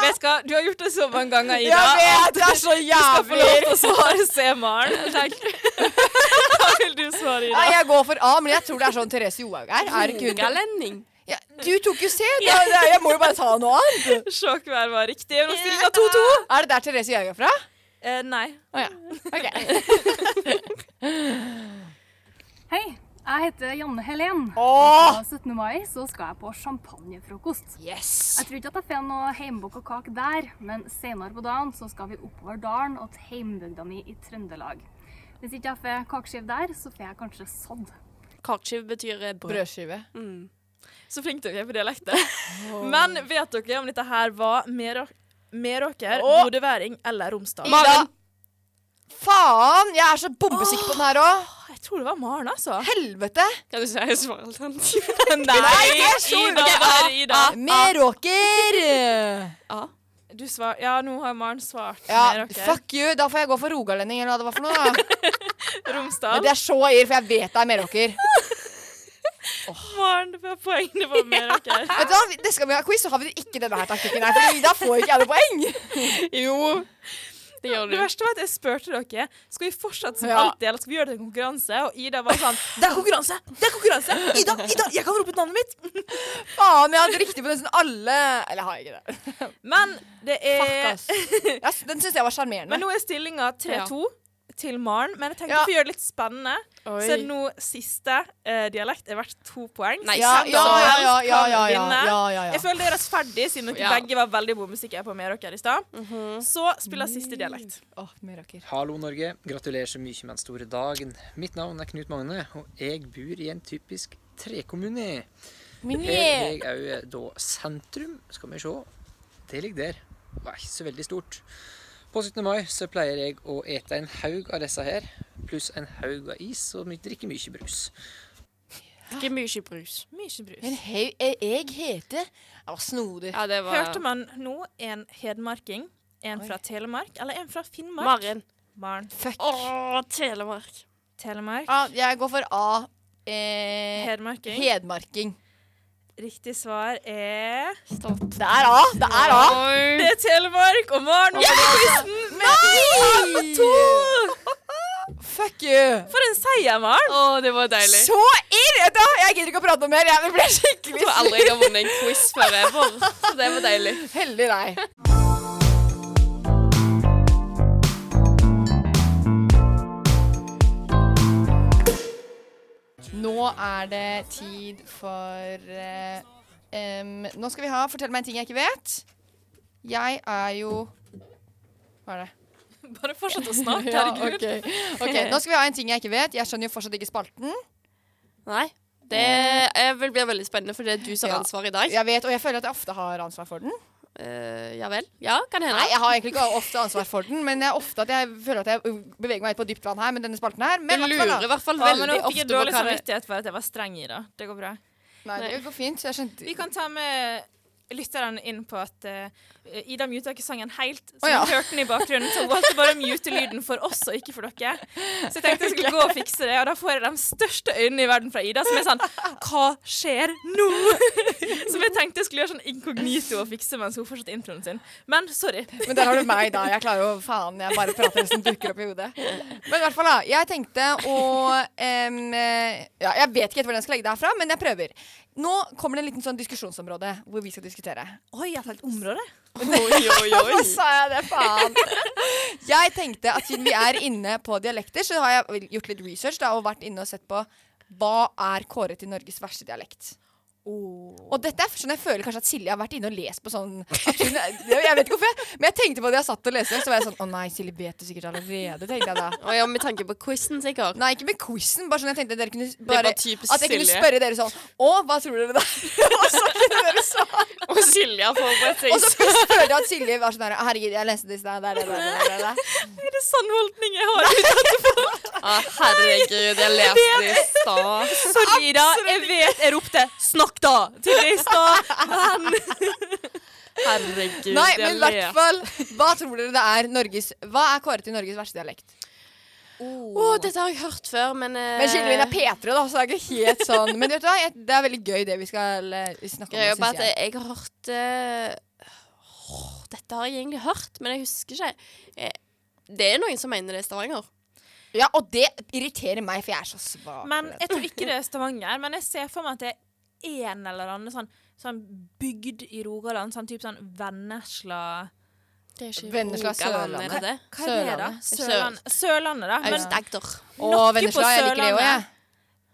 D: Vet du hva, du har gjort det så mange ganger, Ida.
C: Jeg vet! Det er så
D: Jeg får lov
C: jævlig!
D: til å svare C, Maren. (laughs) Takk. Hva vil du svare,
C: Nei,
D: Ida?
C: jeg går for A, men jeg tror det er sånn Therese Johaug er. Er det ikke hun?
E: Rogalending.
C: Ja, du tok jo C! Da, da, jeg må jo bare ta noe annet.
D: Sjåkvær var riktig. Nå stiller jeg 2-2.
C: Er det der Therese Johaug er fra?
D: Eh, nei.
C: Å ja. OK.
K: Hei, jeg heter Janne Helen.
C: Åh,
K: På 17. mai så skal jeg på champagnefrokost. Jeg tror ikke at jeg får noe heimbukk og kake der, men senere på dagen så skal vi oppover dalen og til heimbygda mi i Trøndelag. Hvis ikke jeg får kakeskive der, så får jeg kanskje sodd.
E: Kakeskive betyr eh, brød.
C: brødskive.
D: Så flink dere er på dialekter. Men vet dere om dette her var Merå- Meråker, bodøværing eller Romsdal?
C: Ida! Faen! Jeg er så bombesikker på den her òg.
D: Jeg tror det var Maren, altså.
C: Helvete!
E: Kan du si svaralternativ?
D: (laughs)
C: Nei, det er så
D: Ida, bare Ida.
C: Meråker!
D: Du svar ja, nå har Maren svart
C: Ja,
D: Meråker.
C: fuck you. Da får jeg gå for rogalending, eller hva det var for noe. da. Men
D: Romsdal.
C: det er så ir, for jeg vet det er Meråker.
D: Maren, det var poeng. Det var (laughs) Meråker.
C: Vet du hva, det skal vi ha quiz, så har vi ikke denne her taktikken her, for da får ikke jeg noe poeng. Jo.
E: Det gjør du.
D: Det verste var at jeg spurte dere Skal vi fortsette som
C: Ja.
D: alltid, eller skal vi gjøre det til en konkurranse. Og Ida var (laughs) sånn Det er konkurranse! Det er konkurranse! Ida, Ida, jeg kan rope ut navnet mitt!
C: Faen, jeg hadde riktig på nesten alle. Eller har jeg ikke det?
D: Men det
C: Fuck,
D: er
C: ass. Ja, s- den syns jeg var
D: Men
C: sjarmerende.
D: nå er stillinga 3-2 til Maren. Men jeg tenkte
C: Ja.
D: for å gjøre det litt spennende,
E: Oi.
D: så er det nå siste eh, dialekt er verdt to poeng.
E: Nei,
C: Ja,
E: sant,
C: ja, ja, ja, ja, ja, ja,
D: Vinne.
C: ja, ja,
D: Jeg
C: ja.
D: føler det er rettferdig, siden dere
E: Ja.
D: begge var veldig bombesikker på Meråker i stad. Så spiller siste dialekt.
C: Åh, Meråker.
H: Hallo, Norge. Gratulerer så mye med den store dagen. Mitt navn er Knut Magne, og jeg bor i en typisk trekommune.
C: Min
H: Her ligger òg da sentrum. Skal vi se. Det ligger der. Det er ikke så veldig stort. På 17. mai så pleier jeg å ete en haug av disse her, pluss en haug av is, og my- drikke mye brus.
E: Ikke mye brus.
D: Mye brus.
C: Men hei, jeg, jeg heter Det var snodig.
E: Ja, det var-
D: Hørte man nå en hedmarking, en fra Telemark, eller en fra Finnmark?
E: Maren.
D: Maren.
C: Fuck.
E: Åh, Telemark.
D: Telemark.
C: Ja, jeg går for A. Eh,
D: Hedmarking.
C: Hedmarking.
D: Riktig svar er
E: Stolt.
C: Det er A! Det er A!
D: Det er Telemark og Maren var på quizen.
C: Nei!
D: Med to!
C: Fuck you!
D: For en seier, Maren.
E: Å, det var deilig.
C: Så irr! Vet du hva, Jeg gidder ikke å prate om mer. Jeg jeg ble skikkelig
E: Jeg tror aldri jeg har vunnet en quiz før ever. Så det var deilig.
C: Heldig deg. Nå er det tid for eh, em, Nå skal vi ha Fortell meg en ting jeg ikke vet. Jeg er jo Hva er det?
D: Bare fortsett å snakke,
C: Ja,
D: herregud.
C: ok. ok, Nå skal vi ha en ting jeg ikke vet. Jeg skjønner jo fortsatt ikke spalten.
E: Nei. Det eh, vil bli veldig spennende, for det er du som har
C: Ja.
E: ansvaret i dag.
C: Jeg vet, og jeg føler at jeg ofte har ansvar for den.
E: Eh, ja vel. Ja, kan hende.
C: Nei, jeg har egentlig ikke ofte ansvar for den, men jeg, er ofte at jeg føler at jeg beveger meg ut på dypt vann her med denne spalten her. Men
E: Du lurer i hvert fall
D: Ja, men nå fikk jeg dårlig samvittighet for at jeg var streng i det. Det går bra.
C: Nei, det går fint. Jeg skjønte
D: Vi kan ta med lytteren inn på at eh, Ida muta ikke sangen helt, så
C: Å, ja.
D: vi hørte den i bakgrunnen. Så hun valgte bare å mute lyden for oss og ikke for dere. Så jeg tenkte jeg skulle gå og fikse det, og da får jeg de største øynene i verden fra Ida, som er sånn Hva skjer nå? (laughs) Som jeg tenkte jeg skulle gjøre sånn inkognito og fikse mens hun fortsatte introen sin. Men sorry.
C: Men der har du meg, da. Jeg klarer jo faen. Jeg bare prater det som dukker opp i hodet. Men i hvert fall, da. Jeg tenkte å em, eh, Ja, jeg vet ikke helt hvor den skal legge det herfra, men jeg prøver. Nå kommer det en liten sånn diskusjonsområde hvor vi skal diskutere.
D: Oi, jeg har et
E: (laughs)
D: område. (laughs)
C: Hvorfor sa jeg det, faen? Jeg tenkte at siden vi er inne på dialekter, så har jeg gjort litt research da, og vært inne og sett på hva er kåret til Norges verste dialekt.
E: Oh.
C: Og dette er sånn jeg føler kanskje at Silje har vært inne og lest på sånn at hun, Jeg vet ikke hvorfor, jeg, men jeg tenkte på det jeg satt og leste, så var jeg sånn Å nei, Silje vet det sikkert allerede, tenkte jeg da.
E: Å ja, Med tanke på quizen, sikkert.
C: Nei, ikke med quizen. Bare sånn jeg tenkte dere kunne
E: var
C: bare,
E: typisk
C: At jeg kunne
E: Silje.
C: spørre dere sånn Å, hva tror (laughs) dere der? og så kunne dere svare.
E: Og Silje har forberedt seg.
C: Og så først følte jeg at Silje var sånn her Herregud, jeg leste det i stad. der, der, der, der, der, der.
D: Er det sånn holdning jeg har?
E: Å, Ah, herregud, jeg leste det i stad.
D: Sorry, Ida. Jeg vet jeg ropte 'snakk', da, til deg i stad, men
E: (laughs) Herregud,
C: Nei,
E: jeg
C: men i
E: ler.
C: hvert fall Hva tror dere det er Norges Hva er kåret til Norges verste dialekt?
E: Å, dette har jeg hørt før, men eh,
C: Men kilden min er Petra, da, så det er ikke helt sånn. Men vet du hva, jeg, det er veldig gøy, det vi skal eh, snakke om.
E: Greia er bare
C: synes
E: at jeg, jeg har hørt eh, åh, Dette har jeg egentlig hørt, men jeg husker ikke. Eh, det er noen som mener det er Stavanger.
C: Ja, og det irriterer meg, for jeg er så svak.
D: Men jeg tror ikke
C: (laughs)
D: det er Stavanger, men jeg ser for meg at det er en eller annen sånn, sånn bygd i Rogaland, sånn type sånn Vennesla
E: Det er
C: ikke Vennesla, Rogaland, Sørlandet. er det det?
D: Hva, hva er det, da?
C: Sørlandet.
D: Sørlandet, Sørlandet da.
E: Aust-Agder.
C: Å,
D: noe på
C: Vennesla. Jeg liker det òg, jeg.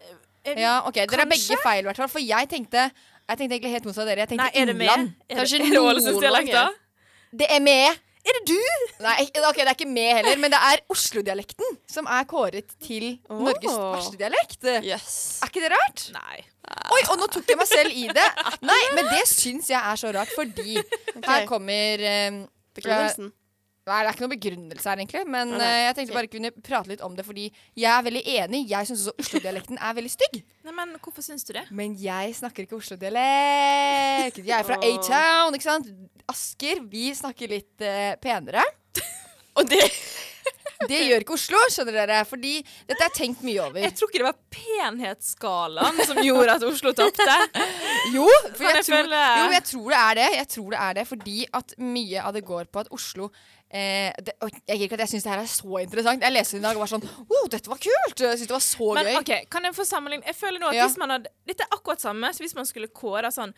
D: Sørlandet. eh,
C: Ja, OK. Dere er begge
D: Kanskje?
C: feil, i hvert fall. For jeg tenkte jeg tenkte egentlig helt motsatt av dere. Jeg tenkte
D: Nei, er det med?
C: Innland.
D: Er det- er det Ålesundsdialekt, da?
C: Det er med. Er det du? Nei, ok, det er ikke med heller, men det er Oslo-dialekten som er kåret til Norges verste dialekt. Er ikke det rart?
D: Nei.
C: Oi, og nå tok jeg meg selv i det. Nei, men det syns jeg er så rart, fordi her kommer eh,
E: Begrunnelsen.
C: Nei, Det er ikke noen begrunnelse her, egentlig. Men
E: Nei, nei.
C: eh, jeg tenkte bare kunne prate litt om det, fordi jeg er veldig enig. Jeg syns også Oslo-dialekten er veldig stygg.
D: Nei, men hvorfor syns du det?
C: Men jeg snakker ikke Oslo-dialekt. Jeg er fra
D: Åh.
C: A-town, ikke sant? Asker, vi snakker litt eh, penere.
E: Og det
C: Det gjør ikke Oslo, skjønner dere. Fordi dette er tenkt mye over.
D: Jeg tror ikke det var penhetsskalaen som gjorde at Oslo
C: (laughs)
D: tapte.
C: Jo, for
D: Kan
C: jeg,
D: jeg
C: tror,
D: følge?
C: jo, jeg tror det er det. Jeg tror det er det Fordi at mye av det går på at Oslo eh, det, og Jeg gir ikke at jeg syns det her er så interessant. Jeg leste det i dag og var sånn oh, dette var kult! Jeg syns det var så
D: Men
C: gøy.
D: ok, kan jeg få sammenligne? Jeg føler nå at
C: Ja.
D: hvis man hadde Dette er akkurat samme så hvis man skulle kåre sånn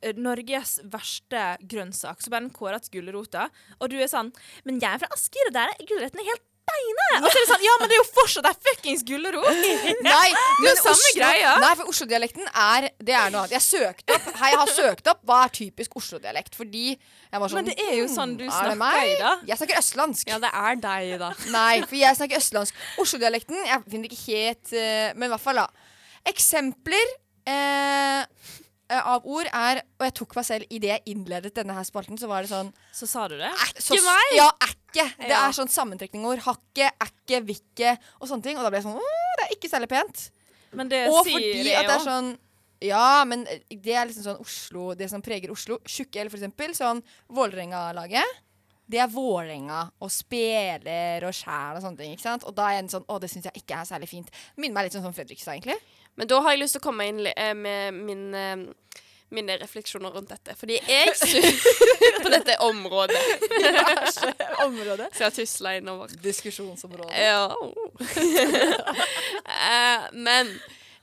D: eh, Norges verste grønnsak, så bare den kåret til gulrota, og du er sånn Men jeg er fra Asker, og der er gulrøttene helt beine! Og så er det sånn Ja, men det er jo fortsatt ei fuckings gulrot!
C: (laughs) Nei,
D: (laughs) det er
C: men
D: jo samme
C: Oslo-
D: greia.
C: Nei, for Oslo-dialekten er Det er noe annet. Jeg søkte opp Hei, jeg har søkt opp hva er typisk Oslo-dialekt, fordi jeg var sånn
D: Men det er jo
C: «Hmm,
D: sånn du
C: er det
D: snakker
C: meg?»
D: i da.
C: Jeg snakker østlandsk.
E: Ja, det er deg, da.
C: Nei, for jeg snakker østlandsk. Oslo-dialekten Jeg finner ikke helt eh, Men i hvert fall, da. Eksempler eh, eh, av ord er Og jeg tok meg selv i det jeg innledet denne her spalten, så var det sånn
D: Så sa du det?
C: så,
D: Ikke meg!
C: Ja, ekke. Det
D: Ja.
C: er sånn sammentrekningord. Hakke, ekke, vikke og sånne ting. Og da ble jeg sånn «Åh, Det er ikke særlig pent.
D: Men det
C: og
D: sier
C: fordi
D: jeg
C: at det er
D: også.
C: sånn Ja, men det er liksom sånn Oslo Det som preger Oslo. Tjukke-L, for eksempel. Sånn Vålerenga-laget. Det er Vålerenga og speler og skjær og sånne ting. ikke sant? Og da er jeg en sånn Å, det syns jeg ikke er særlig fint. Minner meg litt sånn som Fredrikstad, egentlig.
E: Men da har jeg lyst til å komme inn li- eh, med min, eh, mine refleksjoner rundt dette. Fordi
D: (laughs)
E: jeg syns (laughs) På dette området.
C: området?
E: Så jeg har tusla innover.
C: Diskusjonsområdet.
E: Ja. (laughs) Eh, Men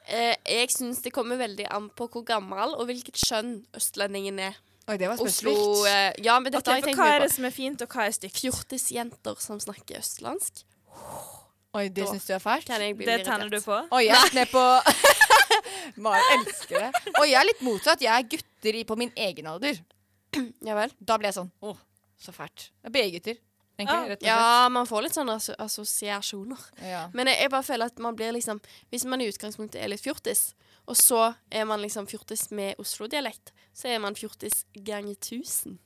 E: eh, jeg syns det kommer veldig an på hvor gammel og hvilket kjønn østlendingen er.
C: Oi, det var
E: Oslo,
C: spesifikt.
E: eh, ja, men dette
D: Ok,
E: har jeg
D: for
E: tenkt
D: hva
E: mye
D: er
E: på.
D: det som er fint, og hva er stygt?
E: Fjortisjenter som snakker østlandsk.
C: Oi, det
E: Da
C: syns du er fælt?
E: kan jeg bli
D: Det tenner du på?
C: Oi, jeg er ned på (laughs) Mari elsker det. Og jeg er litt motsatt. Jeg er gutter i- på min egen alder.
E: Ja vel.
C: Da ble jeg sånn Å, så fælt. Det er BI-gutter, egentlig. Rett og slett.
E: Ja, man får litt sånne asso- assosiasjoner.
C: Ja.
E: Men jeg, jeg bare føler at man blir liksom Hvis man i utgangspunktet er litt fjortis, og så er man liksom fjortis med Oslo-dialekt, så er man fjortis ganger tusen.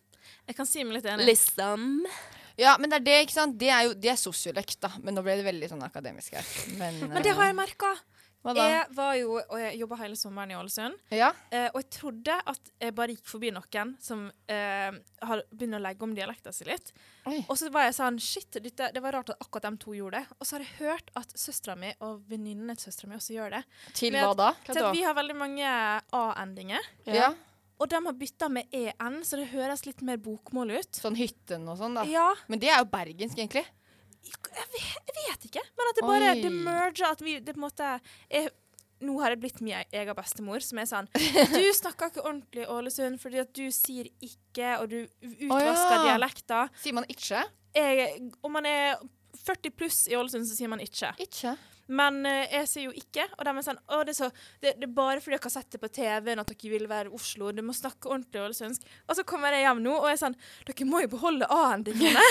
D: Jeg kan si meg litt enig.
E: Liksom.
C: Ja, men det er det, ikke sant? Det er jo det er sosiolekt, da. Men nå ble det veldig sånn akademisk her. Men, eh,
D: Men det har jeg merka.
C: Hva da?
D: Jeg var jo, og jeg jobba hele sommeren i Ålesund.
C: Ja.
D: Eh, og jeg trodde at jeg bare gikk forbi noen som eh, har begynner å legge om dialekten sin litt. Og så var jeg sånn Shit, dette, det var rart at akkurat de to gjorde det. Og så har jeg hørt at søstera mi og venninnene til søstera mi også gjør det.
C: Til
D: Med
C: hva
D: at-
C: da? Hva
D: Til
C: da?
D: at vi har veldig mange A-endinger.
C: Ja.
D: Og de har bytta med EN, så det høres litt mer bokmål ut.
C: Sånn hytten og sånn, da.
D: Ja.
C: Men det er jo bergensk, egentlig.
D: vet ikke. Men at det bare
C: Oi.
D: det merger at vi det på en måte er, Nå har jeg blitt min e- egen bestemor, som er
C: (laughs)
D: sånn Du snakker ikke ordentlig Ålesund fordi at du sier ikke, og du utvasker
C: Å ja.
D: dialekter.
C: Sier man ikke?
D: Jeg, om man er 40 pluss i Ålesund, så sier man ikke. Men eh, jeg sier jo ikke, og de er sånn Å, det er, så, det, det er bare fordi dere har sett det på TV-en at dere vil være i Oslo. Du må snakke ordentlig ålesundsk. Og så kommer jeg hjem nå og jeg er sånn Dere må jo beholde A-endingene.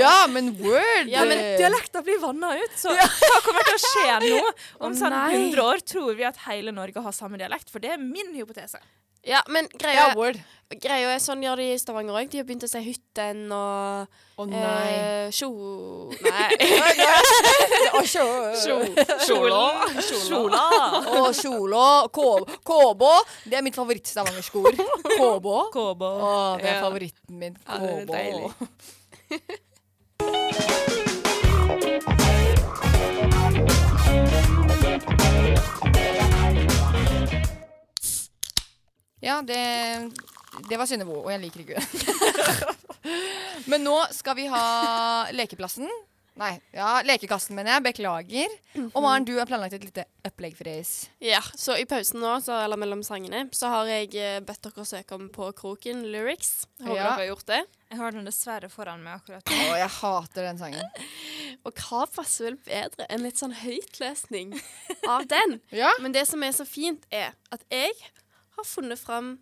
C: Ja, men word!
D: Ja, men dialekta blir vanna ut, så hva kommer til å skje nå? Om
E: Å,
D: sånn
E: nei.
D: 100 år tror vi at hele Norge har samme dialekt, for det er min hypotese.
E: Ja, men greia,
D: Ja, word.
E: greia er sånn gjør de i Stavanger òg. De har begynt å si hytten og
C: Å
E: eh,
C: nei.
E: Tjo... Nei.
C: Å, tjo-
E: Kjola.
C: Kjola. (laughs) Og kjola. Kå- Kåbå. Det er mitt favoritt-stavangersk-ord. Kåbå.
D: Kåbå.
C: Å, det er
E: Ja.
C: favoritten min.
E: Ja, det er
C: Kåbå. Ja, det, det var Synnøve, og jeg liker ikke henne. (laughs) Men nå skal vi ha lekeplassen. Nei, ja, lekekassen, mener jeg. Beklager. Og Maren, du har planlagt et lite opplegg for oss.
E: Ja, så i pausen nå, så, eller mellom sangene, så har jeg eh, bedt dere søke om på Kroken lyrics. Håper
C: Ja.
E: dere har gjort det.
D: Jeg har den dessverre foran meg akkurat
C: Å, jeg hater den sangen.
E: Og hva passer vel bedre enn litt sånn høytlesning
C: (laughs)
E: av den? Men det som er så fint, er at jeg har funnet fram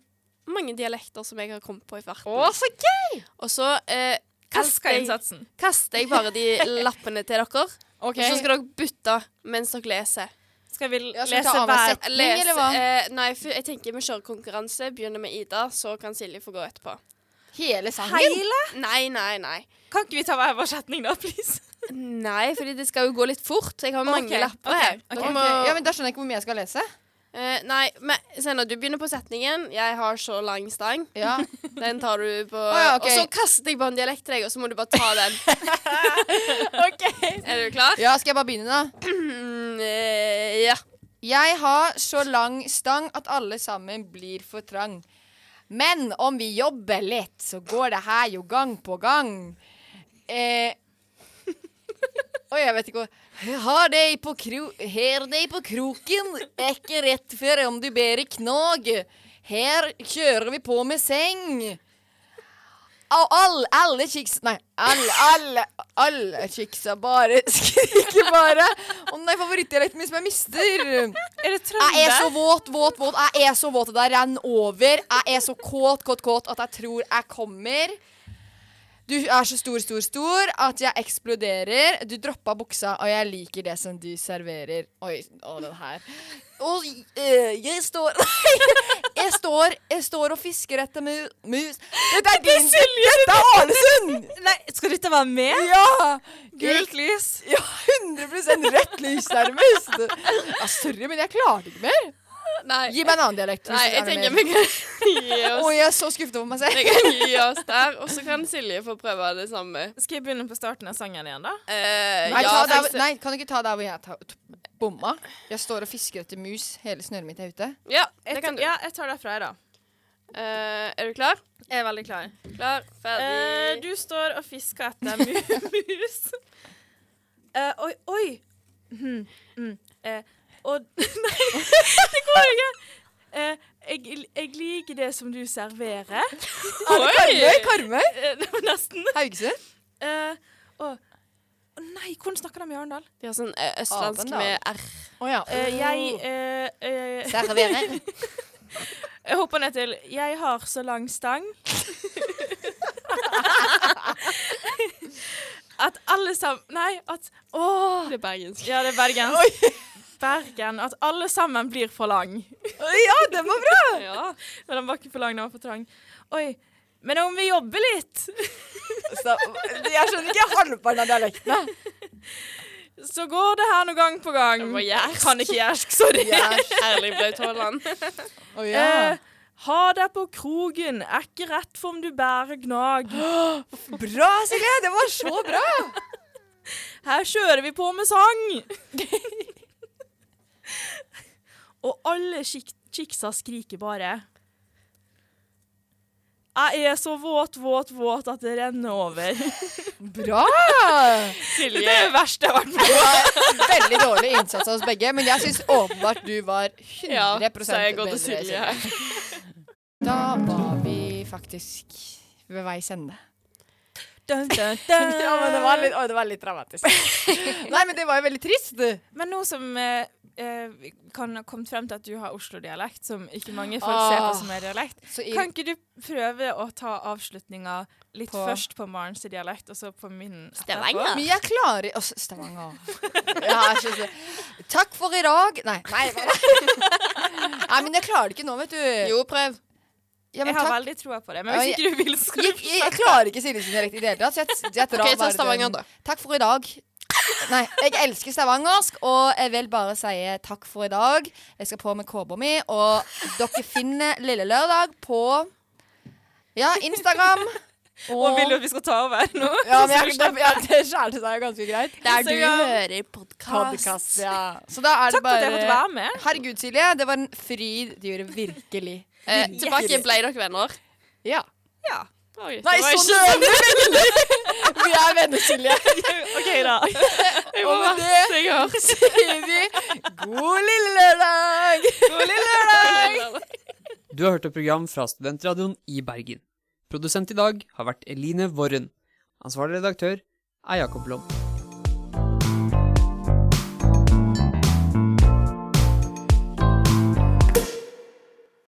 E: mange dialekter som jeg har kommet på i farten.
C: Å, så gøy!
E: Og så eh,
D: Elsker
E: kaster, jeg,
D: innsatsen.
E: kaster jeg bare
C: (laughs)
E: de lappene til dere.
C: Ok.
E: Og så skal dere bytte mens dere leser.
D: Skal vi
C: skal vi ta av hver setning, eller hva?
E: Eh, nei, for jeg tenker vi kjører konkurranse. Begynner med Ida, så kan Silje få gå etterpå.
C: Hele sangen?
D: Hele?
E: Nei, nei, nei.
D: Kan ikke vi ta hver vår setning, da, please?
E: Nei, fordi det skal jo gå litt fort. Jeg har mange
C: Ok,
E: lapper
C: ok,
E: her.
C: ok.
E: Dere
C: Ok, ja, men Da skjønner jeg ikke hvor mye jeg skal lese.
E: Eh, nei, men Senna, du begynner på setningen 'Jeg har så lang stang'.
C: Ja.
E: Den tar du
C: (laughs)
E: på
C: ja, ok.
E: Og så kaster jeg bare en dialekt til deg, og så må du bare ta
C: (laughs)
E: den. Er du klar? Mm, eh,
C: Ja, Skal jeg bare begynne, da?
E: ja.
C: Jeg har så lang stang at alle sammen blir for trang. Men om vi jobber litt, så går det her jo gang på gang. Eh, (laughs) Oi, jeg vet ikke hva Har deg på kro... Her deg på kroken, ikke rett før om du ber i knog. Her kjører vi på med seng. Og alle, alle chicks Nei, alle, alle, alle chicksa bare (laughs) skriker bare. Å nei, favorittdialekten min som jeg mister.
D: Er det
C: trønder? Jeg er så våt, våt, våt. Jeg er så våt at det renner over. Jeg er så kåt, kåt, kåt at jeg tror jeg kommer. Du er så stor, stor, stor at jeg eksploderer. Du droppa buksa, og jeg liker det som du serverer. Oi, å, den her. Og eh, jeg står (laughs) Nei! Jeg står, jeg står og fisker etter mu, mus Dette er din Dette er Ålesund!
D: Nei, skal dette være med?
C: Ja!
D: Gult lys.
C: Ja, 100 rødt lys, nærmest. Ja, sorry, men jeg klarte ikke mer. Gi meg en annen dialekt. hvis
E: Nei,
C: det er
E: jeg
C: noe
E: tenker
C: mer.
E: vi kan (laughs) gi oss
C: Oi, jeg er så skuffet over meg selv.
E: Jeg kan gi oss der, og så kan Silje få prøve det samme. Eh,
D: Skal jeg begynne på starten av sangen igjen, da?
C: Nei, ta der, hvor- nei, kan du ikke ta der hvor jeg ta, t- bomma? Jeg står og fisker etter mus. Hele snøret mitt er ute.
E: Ja,
D: det
E: kan du. Eh,
D: Ja, jeg tar derfra, jeg, da.
E: er du klar?
D: Jeg er veldig klar.
E: Klar, ferdig.
D: Eh, du står og fisker etter mu- (laughs) mus. Eh, oi, oi! Mhm, mm, eh, og (laughs) Nei, det går ikke! Eh, jeg, jeg liker det som du serverer.
C: Er det Karmøy? Karmøy?
D: Eh, det var nesten.
C: Haugesund?
D: Eh, å, å nei, hvordan snakker de i Arendal?
E: De har sånn eh, østlandsk med R.
C: Å ja.
D: Eh,
E: Oh.
D: jeg eh, eh,
E: Serverer.
D: Jeg hopper ned til 'Jeg har så lang stang' (laughs) At alle sammen Nei, at Å!
E: Det er (laughs) bergensk.
D: Ja, det er bergensk. Bergen. At alle sammen blir for lang.
C: Ja, den var bra!
D: (laughs) ja, men den var ikke for lang, den var for trang. Oi. Men om vi jobber litt,
C: jeg skjønner ikke halvparten av dialektene.
D: så går det her noe gang på gang.
E: Det var jærsk.
D: Kan ikke jærsk, sorry.
E: Jærsk. Erling Braut Haaland.
C: Å
D: Eh, (laughs) ha deg på krogen, er ikke rett for om du bærer gnag.
C: Bra, Silje! Det var så bra!
D: Her kjører vi på med sang! (laughs) Og alle kik kiksa skriker bare. Jeg er så våt, våt, våt at det renner
C: (laughs)
D: over.
C: Bra!
D: Silje. Det er det verste jeg har vært med
C: Det var veldig dårlig innsats av oss begge, men jeg syns åpenbart du var 100
E: Ja, så
C: bedre.
E: jeg går til Silje her.
C: Da var vi faktisk ved veis ende. (laughs) Ja, men det var litt, å, det var litt dramatisk. Nei, men det var jo veldig trist.
D: Men nå som eh, eh, vi kan ha kommet frem til at du har Oslo-dialekt, som ikke mange folk
C: Åh.
D: ser på som er dialekt,
C: Så i-
D: kan ikke du prøve å ta avslutninga litt
C: På-
D: først på Marens dialekt, og så på min etterpå?
C: Men jeg klarer altså, Stavanger. Jeg er så- så- Takk for i dag. Nei, nei,
E: (laughs)
C: bare- nei, men jeg klarer det ikke nå, vet du.
E: Jo, prøv.
C: Ja, men
D: jeg har
C: takk.
D: veldig troa på det, men hvis
C: Ja,
D: ikke du vil, så skal du
C: Jeg, jeg, jeg klarer ikke Silje sin dialekt i det hele tatt. så Jeg, jeg drar
E: Ok, ta
C: bare den.
E: Stavanger, da.
C: Takk for i dag. Nei, jeg elsker stavangersk, og jeg vil bare si takk for i dag. Jeg skal på med kåpa mi, og dere finner Lille Lørdag på ja, Instagram.
D: Og vil du at vi skal ta over nå?
C: Ja, men jeg, det, ja, det skjærte seg jo ganske greit.
E: (laughs) Der du
C: Instagram.
E: hører podkast.
C: Podcast, ja. Så da er det
D: Takk for
C: bare
D: at jeg fikk være med.
C: Herregud, Silje, det var en fryd du gjorde virkelig.
E: Eh, tilbake ble dere venner.
C: Ja.
D: Ja.
E: Oi, det
C: Nei,
E: var
C: sånn
E: ikke-
C: (laughs) Vi er venner, Silje.
D: OK, da.
E: Det
C: Og
E: var
C: med
E: det
C: det
E: verste jeg har hørt.
C: sier vi god lille lørdag!
D: God lille lørdag!
L: Du har hørt et program fra Studentradioen i Bergen. Produsent i dag har vært Eline Worren. Ansvarlig redaktør er Jakob Lom.